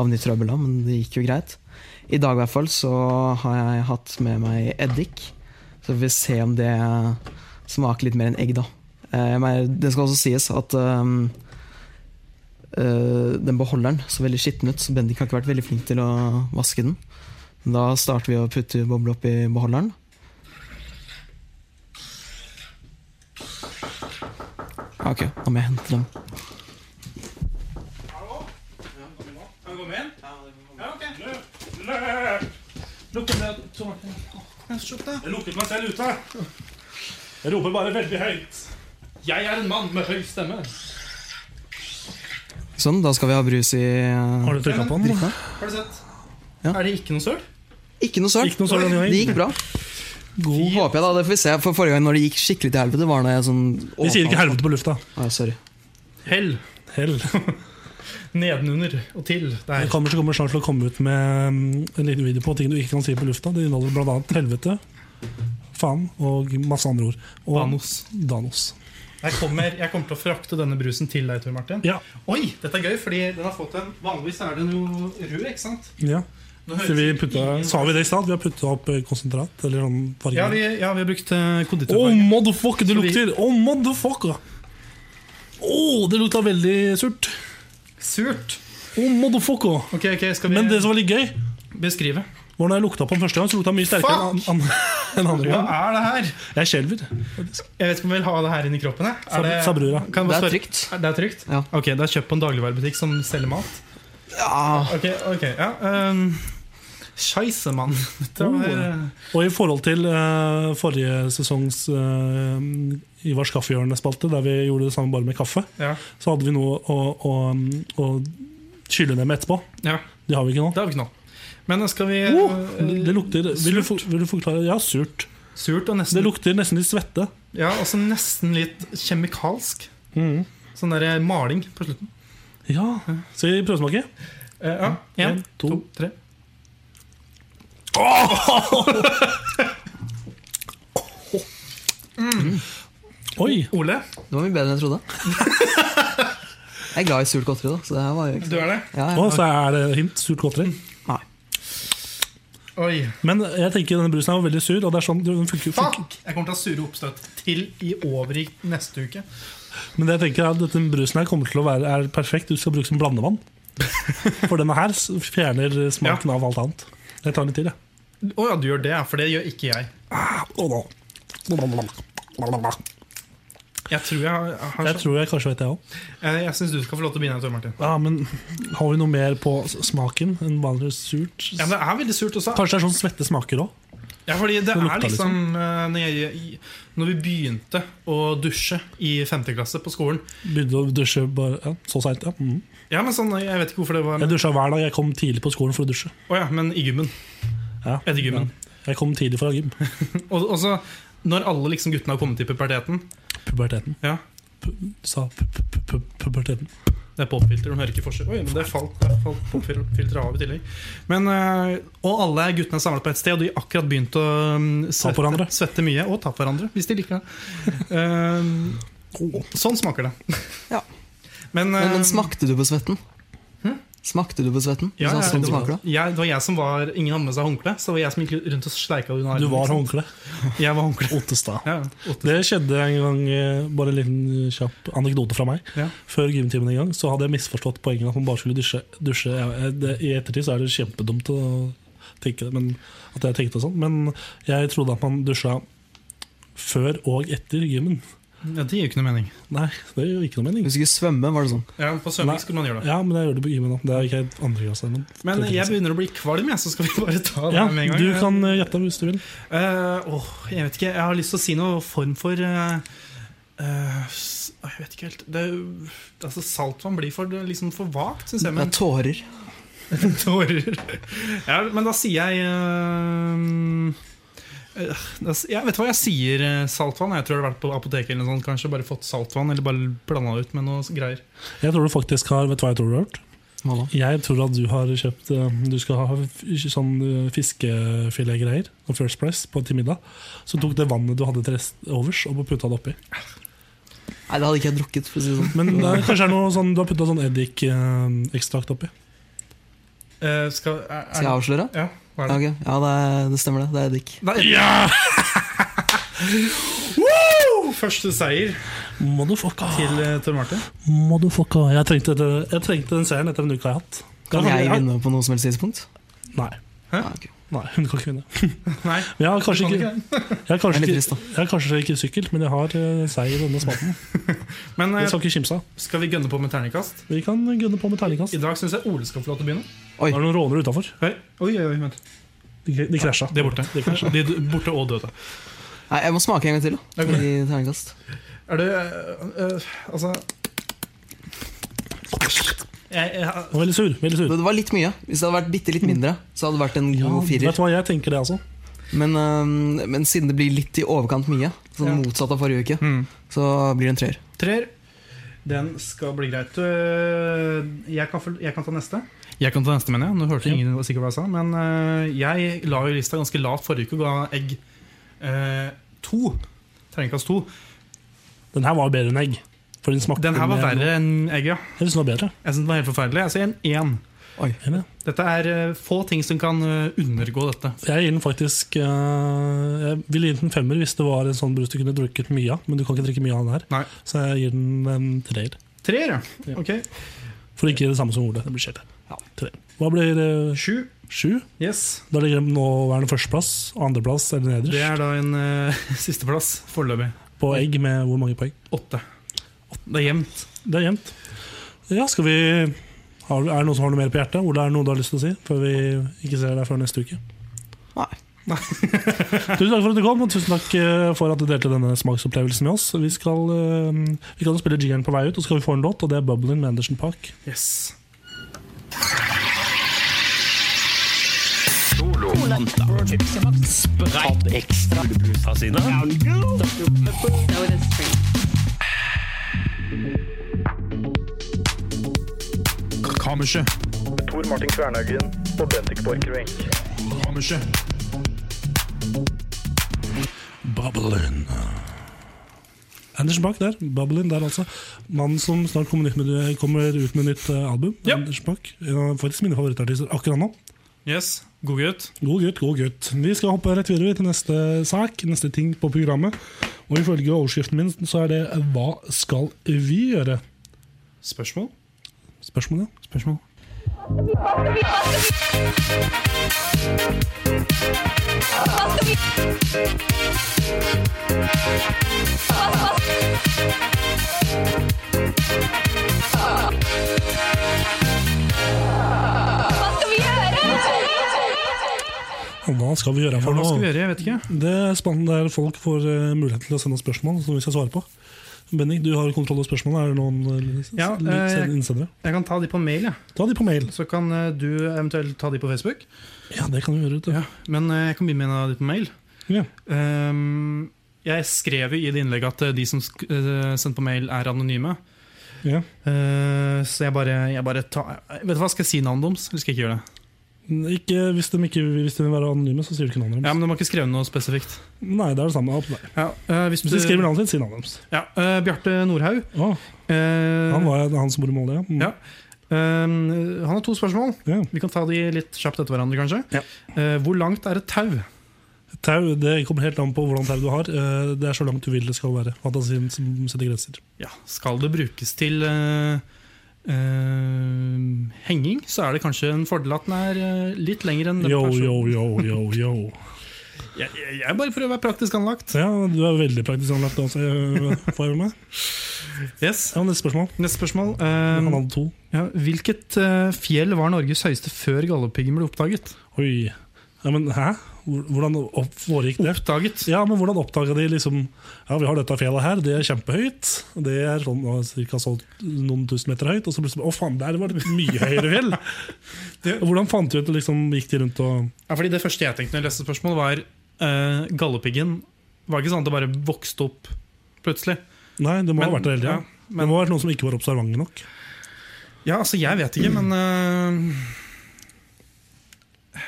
E: havne i trøbbel da, men det gikk jo greit. I dag i hvert fall så har jeg hatt med meg eddik, så får vi se om det smaker litt mer enn egg da. Eh, men Det skal også sies at eh, Eh, den beholderen så veldig skitten ut, så Bendik har ikke vært veldig flink til å vaske den. Men Da starter vi å putte boble oppi beholderen. Ja, Ok, da må jeg hente dem.
A: Kan vi komme inn? Ja, ok. Lukk ned
B: Jeg lukket meg selv ute. Jeg roper bare veldig høyt.
A: Jeg er en mann med høy stemme.
E: Sånn, da skal vi ha brus i eh,
B: Har du trykka på den?
A: Har du sett?
E: Ja.
A: Er det ikke noe søl?
E: Ikke noe søl.
B: Ikke noe søl denne gangen.
E: Det gikk bra.
B: God.
E: Håper jeg da, det får vi se. For Forrige gang når det gikk skikkelig til helvete, var det sånn
B: Vi sier ikke helvete på lufta.
E: Nei, sorry.
A: Hell.
B: Hell.
A: Nedenunder og til. Der.
B: Kammerset kommer snart til å komme ut med mm, en liten video på ting du ikke kan si på lufta. Det inneholder bl.a. helvete, faen og masse andre ord. Og
A: Danos.
B: Danos.
A: Jeg kommer, jeg kommer til å frakte denne brusen til deg, Tor Martin.
B: Ja.
A: Oi, dette er gøy, fordi den har fått en Vanligvis er den jo rød, ikke sant?
B: ja.
A: Nå høres
B: Så vi
A: det
B: putta,
A: ingen-
B: sa vi det i stad? Vi har putta opp eh, konsentrat? Eller sånn
A: ja, vi,
B: farge?
A: ja, vi har brukt eh,
B: Å,
A: konditorfarge.
B: motherfucker, det
A: Så vi-
B: lukter! Å, motherfucker! Å, det lukta veldig surt.
A: Surt.
B: Å, motherfucker!
A: Ok, ok, Skal vi
B: Men det som var litt gøy,
A: beskrive?
B: var når jeg lukta på den første gang, så lukta den mye sterkere enn an- enn andre
A: Hva
B: gang.
A: er det her?
B: Jeg skjelver.
A: Jeg vet ikke om jeg vil ha det her inni kroppen. Jeg.
B: Sa-
A: Er det,
B: sa brura.
A: Kan jeg bare
E: Det er
A: spørre-
E: trygt.
A: Er det er trygt?
E: Ja.
A: Ok, Det er kjøpt på en dagligvarebutikk som selger mat?
E: Ja,
A: Ok, ok, ja um, Scheisse, mann. Dette
B: Oh.
A: var eh,
B: Og i forhold til eh, forrige sesongs uh, Ivars kaffehjørnespalte, der vi gjorde det samme bare med kaffe,
A: Ja.
B: så hadde vi noe å, å, å kylle ned med etterpå.
A: ja.
B: Det har vi ikke nå.
A: Det har vi ikke nå. Men skal vi
B: Åh,
A: eh,
B: Oh! det lukter vil du, for- vil du forklare? Ja, surt.
A: Surt og
B: Det
A: nesten
B: lukter nesten litt svette.
A: Ja, også nesten litt kjemikalsk.
B: Mm.
A: Sånn der maling på slutten.
B: Ja. Skal vi prøvesmake?
A: Eh, ja. Én,
B: En, to.
A: to, tre.
B: Oi!
A: Ole,
E: det var mye bedre enn jeg trodde. Jeg er glad i surt godteri, da. Så det her var jo ikke
A: du er det?
E: ja,
B: Å,
E: ja.
B: så er det hint. Surt godteri.
E: Nei.
A: Oi.
B: Men jeg tenker denne brusen her var veldig sur. Og det er sånn, den funker, funker.
A: Fuck! Jeg kommer til å ha sure oppstøt til i over i neste uke.
B: Men det jeg tenker er at denne brusen her kommer til å være er perfekt. Du skal bruke som blandevann. For denne her s- fjerner smaken av alt annet. Jeg tar litt til, jeg.
A: Å ja, du gjør det, ja, for det gjør ikke jeg.
B: Å, nå.
A: Jeg tror jeg har
B: Jeg tror jeg kanskje vet det òg.
A: Jeg, jeg syns du skal få lov til å begynne, Tor Martin.
B: Ja, men har vi noe mer på s- smaken enn vanlig surt?
A: Ja, men Det er veldig surt også.
B: Kanskje det er sånn svette smaker òg?
A: Ja, fordi det
B: Det sånn.
A: er
B: lukta
A: liksom eh, når, jeg, i- når vi begynte å dusje i femte klasse på skolen
B: Begynte å dusje bare, ja, så seint. Ja. Mhm.
A: Ja, men sånn, Jeg vet ikke hvorfor det var
B: Jeg dusja hver dag. Jeg kom tidlig på skolen for å dusje.
A: Å ja, men i gymmen.
B: Ja.
A: Etter gymmen.
B: Jeg kom tidlig fra gym.
A: Og, og så, når alle liksom guttene har kommet i puberteten
B: Puberteten.
A: Ja,
B: Pu- Sa pu- pu- pu- pu- puberteten.
A: Det er popfilter, de hører ikke forskjell. Oi, men det falt, der falt popfilteret av i tillegg. Men, eh, og alle guttene er samlet på ett sted, og de har akkurat begynt å mm,
B: Ta på hverandre.
A: svette, svette mye. Og ta på hverandre, hvis de liker det. Ehm, og sånn smaker det.
E: Ja.
A: Men,
E: Men,
A: eh,
E: men smakte du på svetten? Smakte du på svetten?
A: ja,
E: Sånn
A: ja,
E: som
A: det, var,
E: smaker, da?
A: jeg, det var jeg som var Ingen hadde med seg håndkle, så det var jeg som gikk rundt og sleika under
B: Du var
A: liksom.
B: håndkle.
A: Jeg var håndkle.
B: Ottestad.
A: Ja, ja.
B: Det skjedde en gang, eh, bare en liten kjapp anekdote fra meg.
A: Ja.
B: Før gymtimen en gang så hadde jeg misforstått poenget at man bare skulle dusje. dusje. Ja, eh, det- I ettertid så er det kjempedumt å tenke det, men at jeg tenkte sånn. Men jeg trodde at man dusja før og etter gymmen.
A: ja, Det gir jo ikke noe mening.
B: Nei, det gjør ikke noe mening.
E: Hvis du skulle svømme, var det sånn.
A: Ja, på
B: Nei.
A: svømming skulle man gjøre det.
B: Ja, men jeg gjør det på gymmen. da. Det er ikke helt andre klasse. Men,
A: Men jeg begynner å bli kvalm, jeg, så skal vi bare ta det
B: ja,
A: med en gang.
B: Du kan eh, gjette hvis du vil.
A: Eh, åh, jeg vet ikke, jeg har lyst til å si noe form for eh, eh, s- Jeg vet ikke helt det, er- altså Saltvann blir for, liksom for vagt, syns jeg.
E: Det
A: Men,
E: er tårer.
A: tårer. ja, men da sier jeg eh, eh, da s- Jeg vet hva jeg sier, eh, saltvann. Jeg tror jeg har vært på apoteket eller noe sånt, kanskje bare fått saltvann. Eller bare blanda ut med noe s- greier.
B: Jeg tror du faktisk har Vet du hva jeg tror du har hørt?
E: Hva da?
B: Jeg tror at du har kjøpt eh, Du skal ha f- sånn eh, fiskefiletgreier og First Price på til middag. Så tok det vannet du hadde til rest overs, og putta det oppi.
E: Nei, det hadde ikke jeg drukket. for å si det sånn.
B: Men eh, kanskje er det noe sånn, du har putta sånn eddikekstrakt oppi.
A: Eh, skal, er,
E: Skal jeg
A: er,
E: avsløre?
A: ja, hva er
E: Ja,
A: det?
E: ok. ja det, er, det stemmer, det. Det er eddik.
A: Nei,
B: Ja!
A: oh, første seier
B: Motherfucka.
A: til eh, Tor Martin.
B: Motherfucka. Jeg trengte, det, jeg trengte den seieren etter en uke jeg har hatt.
E: Kan jeg
B: Ja.
E: vinne på noe som helst tidspunkt?
B: Nei.
E: Ja, ok.
B: Nei, hun kan ikke vinne.
A: Nei,
B: Jeg har kanskje
A: kan
B: ikke,
A: ikke det.
B: jeg har kanskje
E: Det er litt
B: ikke,
E: trist, da.
B: jeg har kanskje ikke sykkel, men jeg har eh, seier i denne spalten.
A: Men eh,
E: Sånn.
B: Jeg skal ikke kimse av.
A: skal vi gønne på med terningkast?
B: Vi kan gunne på med terningkast.
A: I dag syns jeg Ole skal få lov til å begynne.
B: Det er noen rånere utafor.
A: Oi, oi, oi, vent.
B: De, de krasja.
A: De er borte.
B: De krasja.
A: De er borte og døde.
E: Nei, jeg må smake en gang til. da.
A: Ok.
E: Gi
A: eh,
E: terningkast.
A: Er du øh, øh, Altså Jeg, jeg,
B: Og Veldig sur. veldig sur
E: Men Det var litt mye. Hvis det hadde vært bitte litt mindre, så hadde det vært en
B: ja,
E: god
B: Vet
E: firer.
B: du hva, jeg tenker det, altså.
E: Men, øhm, men siden det blir litt i overkant mye, sånn motsatt av forrige uke,
A: Hmm.
E: så blir det en treer.
A: Treer. Den skal bli greit. Øh, Jeg kan, føl- jeg kan ta neste. Jeg kan ta neste, mener jeg. Nå hørte ingen sikkert hva jeg sa. Men øh, jeg la jo lista ganske lavt forrige uke og ga egg øh, to. Terningkast to.
B: Den her var bedre enn egg. For den smakte
A: Den her var
B: mer-
A: verre enn egg, ja.
B: Jeg synes den var bedre.
A: Jeg synes den var helt forferdelig. Jeg sier en én.
B: Enig.
A: Dette er øh, få ting som kan øh, undergå dette.
B: Jeg gir den faktisk eh, Jeg ville gitt den en femmer hvis det var en sånn brus du kunne drukket mye av. Men du kan ikke drikke mye av den her.
A: Nei.
B: Så jeg gir den en treer.
A: Treer, ja. Ok.
B: For ikke det samme som Ole. Det blir kjedelig. Treer. Hva blir det?
A: Sju.
B: Sju?
A: Yes.
B: Da ligger den nåværende førsteplass, andreplass eller
A: Det
B: nederst.
A: er da en øh, sisteplass foreløpig.
B: På egg med hvor mange poeng?
A: Åtte. Det er jevnt.
B: Det er jevnt. Ja, skal vi har, Er det noen som har noe mer på hjertet? Ole, er det noe du har lyst til å si? Før vi ikke ser deg før neste uke.
E: Nei.
B: Tusen takk for at du kom, og tusen takk eh, for at du delte denne smaksopplevelsen med oss. Vi, skal, eh, vi kan jo spille jingeren på vei ut, og så skal vi få en låt, og det er 'Bubbling' med Anderson Park.
A: Yes.
C: Kammerset.
F: Tor Martin Kvernhaugen og Bendik Borchgrevink.
C: Kammerset.
B: Bubbling. Anderson Park der. Bubbling der, altså. Mannen som snart kommer, nytt med, kommer ut med nytt eh, album.
A: Ja.
B: Anderson Park. En av Faktisk mine favorittartister akkurat nå.
A: Yes. God gutt.
B: God gutt, god gutt. Vi skal hoppe rett videre til neste sak, neste ting på programmet. Og ifølge overskriften min så er det 'Hva skal vi gjøre?'
A: Spørsmål?
B: Spørsmålet.
A: Spørsmål.
B: Hva skal vi gjøre
A: Hva
B: for
A: skal vi
B: noe?
A: gjøre? Jeg vet ikke.
B: Det er spennende der folk får eh, mulighet til å sende oss spørsmål som vi skal svare på. Bendik, du har kontroll over spørsmålene. Er det noen eh,
A: Ja,
B: litt
A: eh, jeg-
B: innsendere?
A: Jeg kan ta de på mail, ja.
B: Ta de på mail.
A: så kan eh, du eventuelt ta de på Facebook.
B: Ja, det kan vi gjøre. vet du.
A: Men eh, jeg kan begynne med en av de på mail.
B: Ja.
A: Ehm, jeg skrev jo i det innlegget at eh, de som sk eh, sendte på mail, er anonyme.
B: Ja.
A: Eh, så jeg bare, jeg bare tar Vet du hva, skal jeg si navnet deres? Eller skal jeg ikke gjøre det?
B: Ikke, hvis, de ikke, hvis de vil være anonyme, så sier du ikke navnet
A: Ja,
B: deres.
A: men De har ikke skrevet noe spesifikt.
B: Nei, det er det samme. Opp der.
A: Ja, eh, hvis du,
B: Hvis de skriver navnet sitt, si navnet deres.
A: ja, eh, Bjarte Nordhaug.
B: Å,
A: eh,
B: han var han som bor i Molde, ja. Mm.
A: Ja. ehm, han har to spørsmål.
B: Ja.
A: Vi kan ta de litt kjapt etter hverandre, kanskje. Eh, hvor langt er et tau?
B: Tau, det kommer helt an på hvordan tau du har. Eh, Det er så langt du vil det skal være. Fantasien som setter grenser.
A: ja, skal det brukes til eh, eh, henging, så er det kanskje en fordel at den er eh, litt lengre enn den
B: Yo,
A: personen.
B: yo, yo, yo, yo.
A: Jeg, jeg, jeg bare prøver å være praktisk anlagt.
B: Ja, du er veldig praktisk anlagt også, eh, får jeg med meg.
A: Yes.
B: Ja, neste spørsmål.
A: Neste spørsmål.
B: Han
A: Eh,
B: hadde to.
A: ja, hvilket eh, fjell var Norges høyeste før Galdhøpiggen ble oppdaget?
B: Oi. Ja, men hæ? Hvor- Hvordan opp foregikk det?
A: Oppdaget?
B: Ja, men hvordan oppdaga de liksom Ja, vi har dette fjellet her, det er kjempehøyt. Det er sånn ja, cirka så noen tusen meter høyt. Og så plutselig Å, faen, der var det et mye høyere fjell! Hvordan fant de ut det? Liksom, gikk de rundt og
A: Ja, fordi Det første jeg tenkte når jeg leste spørsmålet, var eh, Galdhøpiggen. Var ikke sånn at det bare vokste opp plutselig?
B: Nei, det må ha
A: Men-
B: vært det hele tida.
A: ja,
B: det må ha vært noen som ikke var observante nok.
A: Ja, altså, jeg vet ikke, men eh,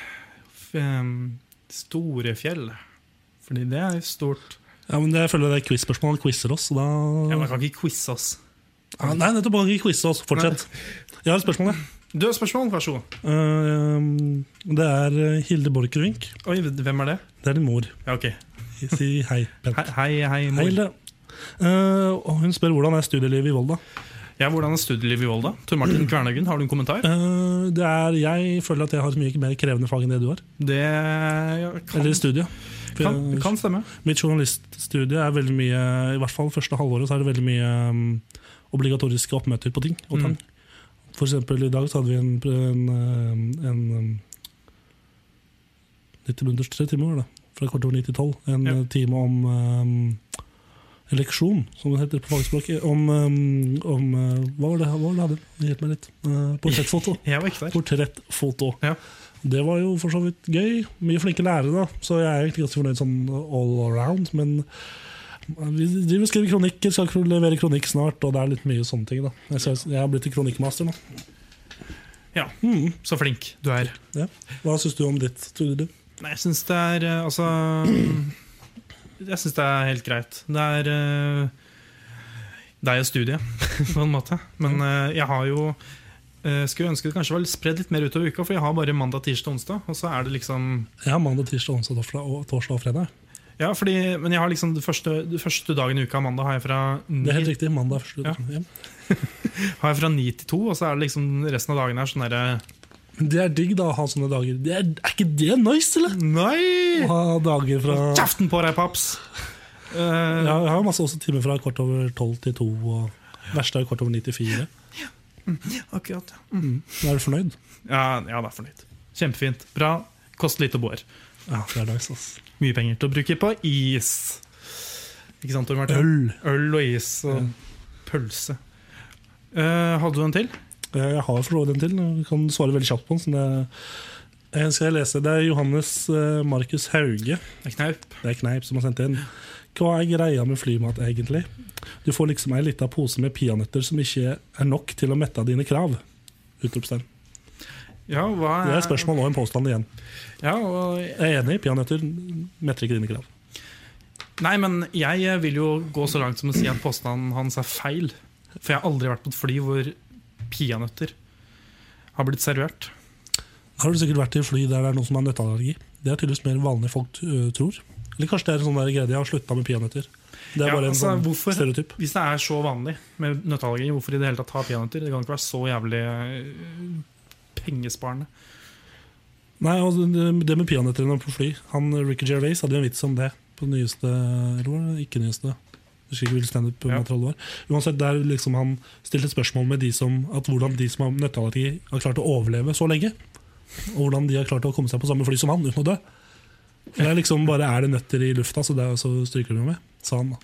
A: f- em, ehm, Store fjell Fordi det er jo stort
B: Ja, men Jeg føler det er quiz-spørsmål. Han quizer oss. så Da...
A: ja, men Jeg kan ikke quizze oss
B: Ah, Nei, nettopp. Han kan ikke quize oss. Fortsett. Jeg har et spørsmål, jeg.
A: Du har spørsmål, vær så god
B: Eh, det er eh, Hilde Borchgrevink.
A: Oi, hvem er det?
B: Det er din mor.
A: Ja, ok
B: Si hei, Bent.
A: Hei, hei, hei
B: Hei,
A: mor
B: Hilde. Eh, og hun spør hvordan er studielivet i Volda.
A: Ja, hvordan er studielivet i Volda? Tor Martin Kvernhagen, har du en kommentar?
B: Eh, det er, jeg føler at jeg har et mye mer krevende fag enn det du har.
A: Det ja, kan,
B: Eller studie. For
A: kan,
B: jeg-
A: kan stemme
B: Mitt journaliststudie er veldig mye I hvert fall første halvåret så er det veldig mye um, obligatoriske oppmøter på ting og tang. For eksempel i dag så hadde vi en, en, en, um, 90 minutters tre timer var det, fra kvart over 9 til 12. En
A: Ja.
B: time om um, leksjon, som det heter på fagspråket, om, eh, om eh, Hva var det hva var det han hadde? Hjelp meg litt. Eh, Portrettfoto.
A: Jeg var ikke der.
B: Portrettfoto.
A: Ja.
B: Det var jo for så vidt gøy. Mye flinke lærere, da. så jeg er egentlig ganske fornøyd sånn all around. Men eh, vi driver og skriver kronikker, skal kro- levere kronikk snart, og det er litt mye sånne ting. da Jeg, ser, jeg har blitt til kronikkmaster nå.
A: Ja, Så flink du er.
B: Ja. Hva syns du om ditt studieliv?
A: Nei, jeg syns det er eh, Altså Jeg syns det er helt greit. Det er eh, Det er jo studiet, på en måte. Men eh, jeg har jo eh, Skulle ønske det kanskje var spredd litt mer utover uka, for jeg har bare mandag, tirsdag, onsdag. Og så er det liksom
B: Jeg har mandag, tirsdag, onsdag, torsdag og, torsdag og fredag.
A: Ja, fordi, men jeg har liksom det første, det første dagen i uka, mandag, har jeg fra
B: Det er
A: ni
B: helt riktig. Mandag er første Mm. ja.
A: har jeg fra 9 til 2, og så er det liksom resten av dagen her sånn derre
B: Det er digg da å ha sånne dager. Det er, er ikke det nice, eller? Å
A: Nei!
B: ha dager fra ja,
A: Kjeften på deg, paps! Eh,
B: Jeg har masse også timer fra kvart over tolv til to. Og verste er kvart over ni til fire.
A: Akkurat.
B: Da er du fornøyd?
A: Ja, ja, det er fornøyd. Kjempefint. Bra. Koster litt å bo her.
B: Ja, det er nice, ass.
A: Mye penger til å bruke på is. Ikke sant, Tor Martin?
B: Øl.
A: Øl og is og pølse. Eh, hadde du en til?
B: Eh, Jeg har forstått den til. Jeg kan svare veldig kjapt på den. Sånn det, Eh, skal jeg lese? Det er Johannes eh, Markus Hauge.
A: Det er Knaup.
B: Det er Kneip som har sendt inn. Hva er greia med flymat, egentlig? Du får liksom ei lita pose med peanøtter som ikke er nok til å mette dine krav. Utropstegn.
A: Ja, hva
B: Det er et spørsmål og en påstand igjen.
A: Ja, og,
B: Jeg er enig, peanøtter metter ikke dine krav.
A: nei, men jeg vil jo gå så langt som å si at påstanden hans er feil. For jeg har aldri vært på et fly hvor peanøtter har blitt servert.
B: Har du sikkert vært i fly der det er noen som har nøtteallergi? Det er tydeligvis mer vanlig folk øh, tror. Eller kanskje det er en sånn der greie de har slutta med peanøtter. Det er
A: Ja,
B: bare en
A: altså,
B: sånn
A: hvorfor-
B: stereotyp.
A: Hvis det er så vanlig med nøtteallergi, hvorfor i det hele tatt ha peanøtter? Det kan ikke være så jævlig eh, pengesparende.
B: Nei, og det- det med peanøttene på fly Han, Ricky Gervais hadde jo en vits om det på den nyeste Eller var det ikke nyeste? Jeg Husker ikke hvilket standup-materiale det var. Uansett, der liksom han stilte spørsmål med de som at hvordan de som har nøtteallergi, har klart å overleve så lenge. Og hvordan de har klart å komme seg på samme fly som han uten å dø. For det er liksom bare er det nøtter i lufta, så, det er, så stryker de med, sa han. da.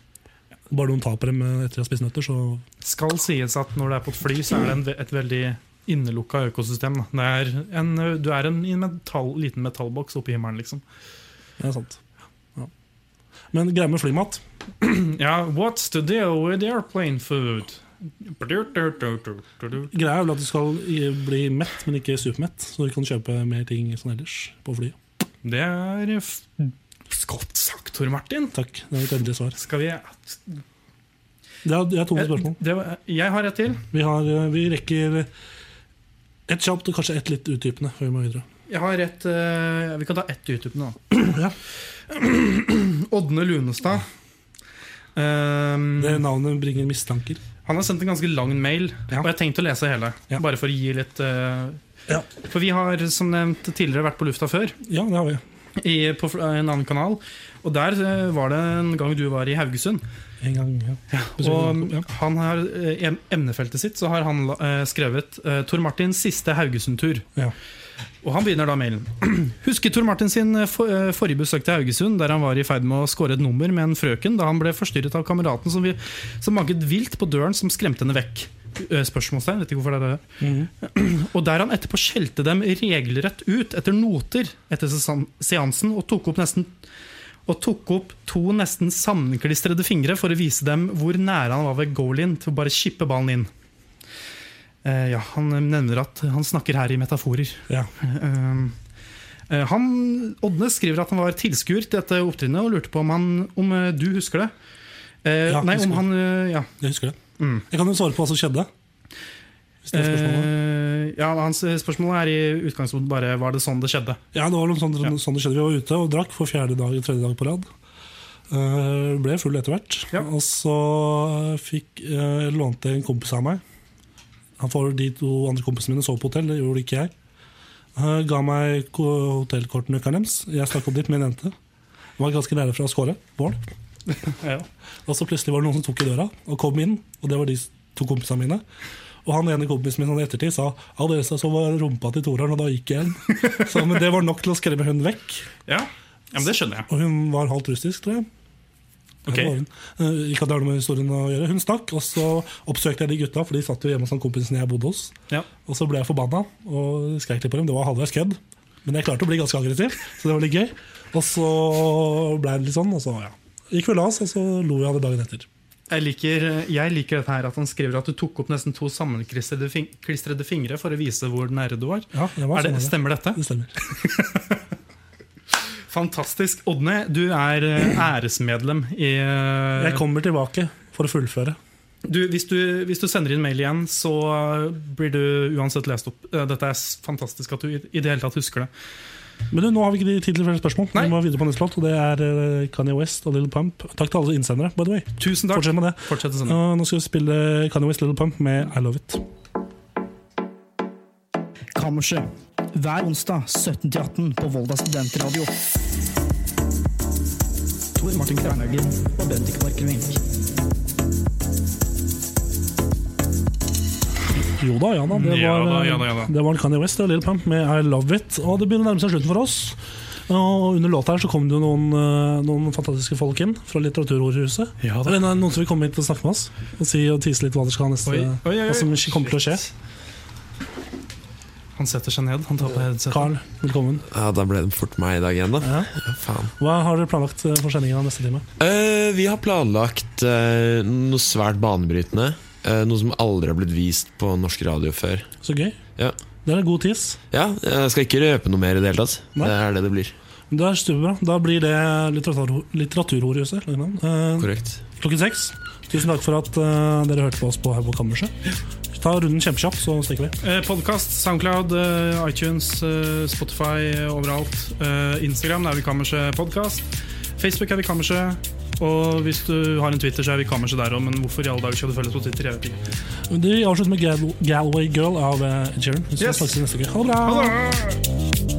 B: Bare noen taper dem etter å ha spist nøtter, så
A: Skal sies at når det er på et fly, så er det en, ve- et veldig innelukka økosystem. Da. Det er en, eh, du er en, i en metall, liten metallboks oppe i himmelen, liksom.
B: det er sant. Ja. Men greia med flymat
A: Ja, what's the deal with airplane food? Ja,
B: Greia er vel at du skal i- bli mett, men ikke supermett. Så du kan kjøpe mer ting sånn ellers på flyet.
A: Det er f- godt sagt, Tor Martin.
B: Takk. Det er mitt endelige svar.
A: Skal vi
B: Det er, det er to spørsmål.
A: Det var- Jeg har et til.
B: Vi, har, eh, vi rekker ett kjapt og kanskje ett litt utdypende før vi må videre.
A: Jeg har et eh, Vi kan ta ett utdypende, da. Ådne Lunestad. Ehm,
B: Det navnet bringer mistanker.
A: han har sendt en ganske lang mail,
B: Ja.
A: og jeg har tenkt å lese hele.
B: Ja.
A: Bare for å gi litt eh,
B: Ja.
A: For vi har som nevnt tidligere vært på lufta før,
B: Ja, det har vi.
A: i, på fl- en annen kanal. Og der eh, var det en gang du var i Haugesund.
B: En gang, ja.
A: Og
B: ja.
A: han har, eh, em- emnefeltet sitt så har han eh, skrevet eh, Tor Martins siste Haugesund-tur.
B: Ja.
A: Og han begynner da mailen. Husker Tor Martin sin eh, for, eh, forrige besøk til Haugesund, der han var i ferd med å score et nummer med en frøken da han ble forstyrret av kameraten som, vi, som banket vilt på døren som skremte henne vekk. Eh, Spørsmålstegn, vet ikke hvorfor det er det.
B: Mhm.
A: Og der han etterpå skjelte dem regelrett ut etter noter etter sesan- seansen og tok opp nesten og tok opp to nesten sammenklistrede fingre for å vise dem hvor nære han var ved goal-in til å bare chippe ballen inn. Eh, ja, han nevner at han snakker her i metaforer.
B: Ja.
A: Eh, eh, han, Odnes skriver at han var tilskuer til dette opptrinnet og lurte på om, han, om eh, du husker det. Eh,
B: Ja,
A: nei,
B: husker.
A: om han eh, Ja.
B: Jeg husker det.
A: Mm.
B: Jeg kan jo svare på hva som skjedde. Hvis det er spørsmålet.
A: Eh, ja, hans spørsmål er i utgangspunktet bare var det sånn det skjedde.
B: Ja, det var noe sånn,
A: Ja.
B: sånn det skjedde. Vi var ute og drakk for fjerde dag, tredje dag på rad. Eh, ble full etter hvert.
A: Ja.
B: Og så fikk, eh, lånte en kompis av meg. Han får De to andre kompisene mine sov på hotell, det gjorde ikke jeg. Eh, ga meg ko- hotellkortnøkkelen deres. Jeg stakk opp dit med en jente. Var ganske nære fra å score mål. Og så plutselig var det noen som tok i døra og kom inn, og det var de s- to kompisene mine. Og han ene kompisen min sånn i ettertid sa ja, dere sa så var rumpa til Torarn, og da gikk jeg igjen. Så, men det var nok til å skremme hun vekk.
A: Ja, ja men det skjønner jeg.
B: Og hun var halvt russisk, tror jeg. Det
G: Ok.
B: var hun. Eh, Ikke at det har noe med historien å gjøre. Hun stakk, og så oppsøkte jeg de gutta, for de satt jo hjemme hos han kompisen jeg bodde hos.
A: Ja.
B: Og så ble jeg forbanna og skreik litt på dem. Det var halvveis kødd, men jeg klarte å bli ganske aggressiv, så det var litt gøy. Og så ble det litt sånn, og så ja. gikk vi og la oss, og så lo jeg av det dagen etter.
A: Jeg liker, jeg liker dette her at han skriver at du tok opp nesten to sammenklistrede fing klistrede fingre for å vise hvor nære du var.
B: Ja, jeg var
A: Er det,
B: sånn,
A: stemmer dette?
B: Det stemmer.
A: Fantastisk. Odne, du er eh, æresmedlem i eh,
B: Jeg kommer tilbake for å fullføre.
A: du, hvis, du, hvis du sender inn mail igjen, så eh, blir du uansett lest opp. Eh, Dette er s- fantastisk at du i i det hele tatt husker det.
B: Men du, nå har vi ikke de tid til flere spørsmål.
A: Nei.
B: Vi må videre på neste låt, og det er eh, Kanye West og Little Pump. Takk til alle innsendere, by the way.
A: Tusen takk. Sånn.
B: Fortsett med det.
A: Fortsett å sende.
B: Og nå skal vi spille Kanye West Little Pump med I Love It.
C: Kammerset. Hver onsdag 17-18 på Volda studentradio. Tor Martin Kvernhaugen og Bendik Borchgrevink.
B: Jo da, ja da. Det var, eh,
A: Ja da, ja da, ja da.
B: Det var Kanye West og Little Pump med I Love It. Og det begynner å nærme seg slutten for oss. Og under låta her så kom det jo noen, eh, noen fantastiske folk inn fra Litteraturordhuset.
A: Ja da.
B: Eller noen som vil komme hit og snakke med oss og si og tease litt hva det skal ha neste
A: Oi, oi, oi.
B: Hva som kommer til å skje.
A: Han setter seg ned. Han tar på headsetet.
B: Carl, velkommen.
H: Ja, da ble det fort meg i dag igjen, da.
B: Ja.
H: Ja, faen.
B: Hva har dere planlagt eh, for sendingen av neste time?
H: Eh, vi har planlagt eh, noe svært banebrytende. eh, noe som aldri har blitt vist på norsk radio før.
B: Så gøy.
H: Ja.
B: Det er en god tiss.
H: Ja, jeg skal ikke røpe noe mer i det hele tatt.
B: Nei.
H: Det er det det blir.
B: Det er superbra. Da blir det litteratur, Litteraturordhuset. eller noe. Eh,
H: Korrekt.
B: klokken seks. Tusen takk for at eh, dere hørte på oss på her på kammerset. Ta runden kjempekjapt, så stikker vi.
A: Eh, Podkast, Soundcloud, eh, iTunes, eh, Spotify eh, overalt. Eh, Instagram er vi Kammerset Podcast. Facebook er vi Kammerset. Og hvis du har en Twitter, så er vi Kammerset der òg, men hvorfor i alle dager skal du følge oss på Twitter? Jeg vet ikke.
B: Vi avslutter med Gal Galway Girl av eh, Ed Sheeran. Vi ses
A: Yes.
B: faktisk neste uke. Ha det bra!
A: Ha det!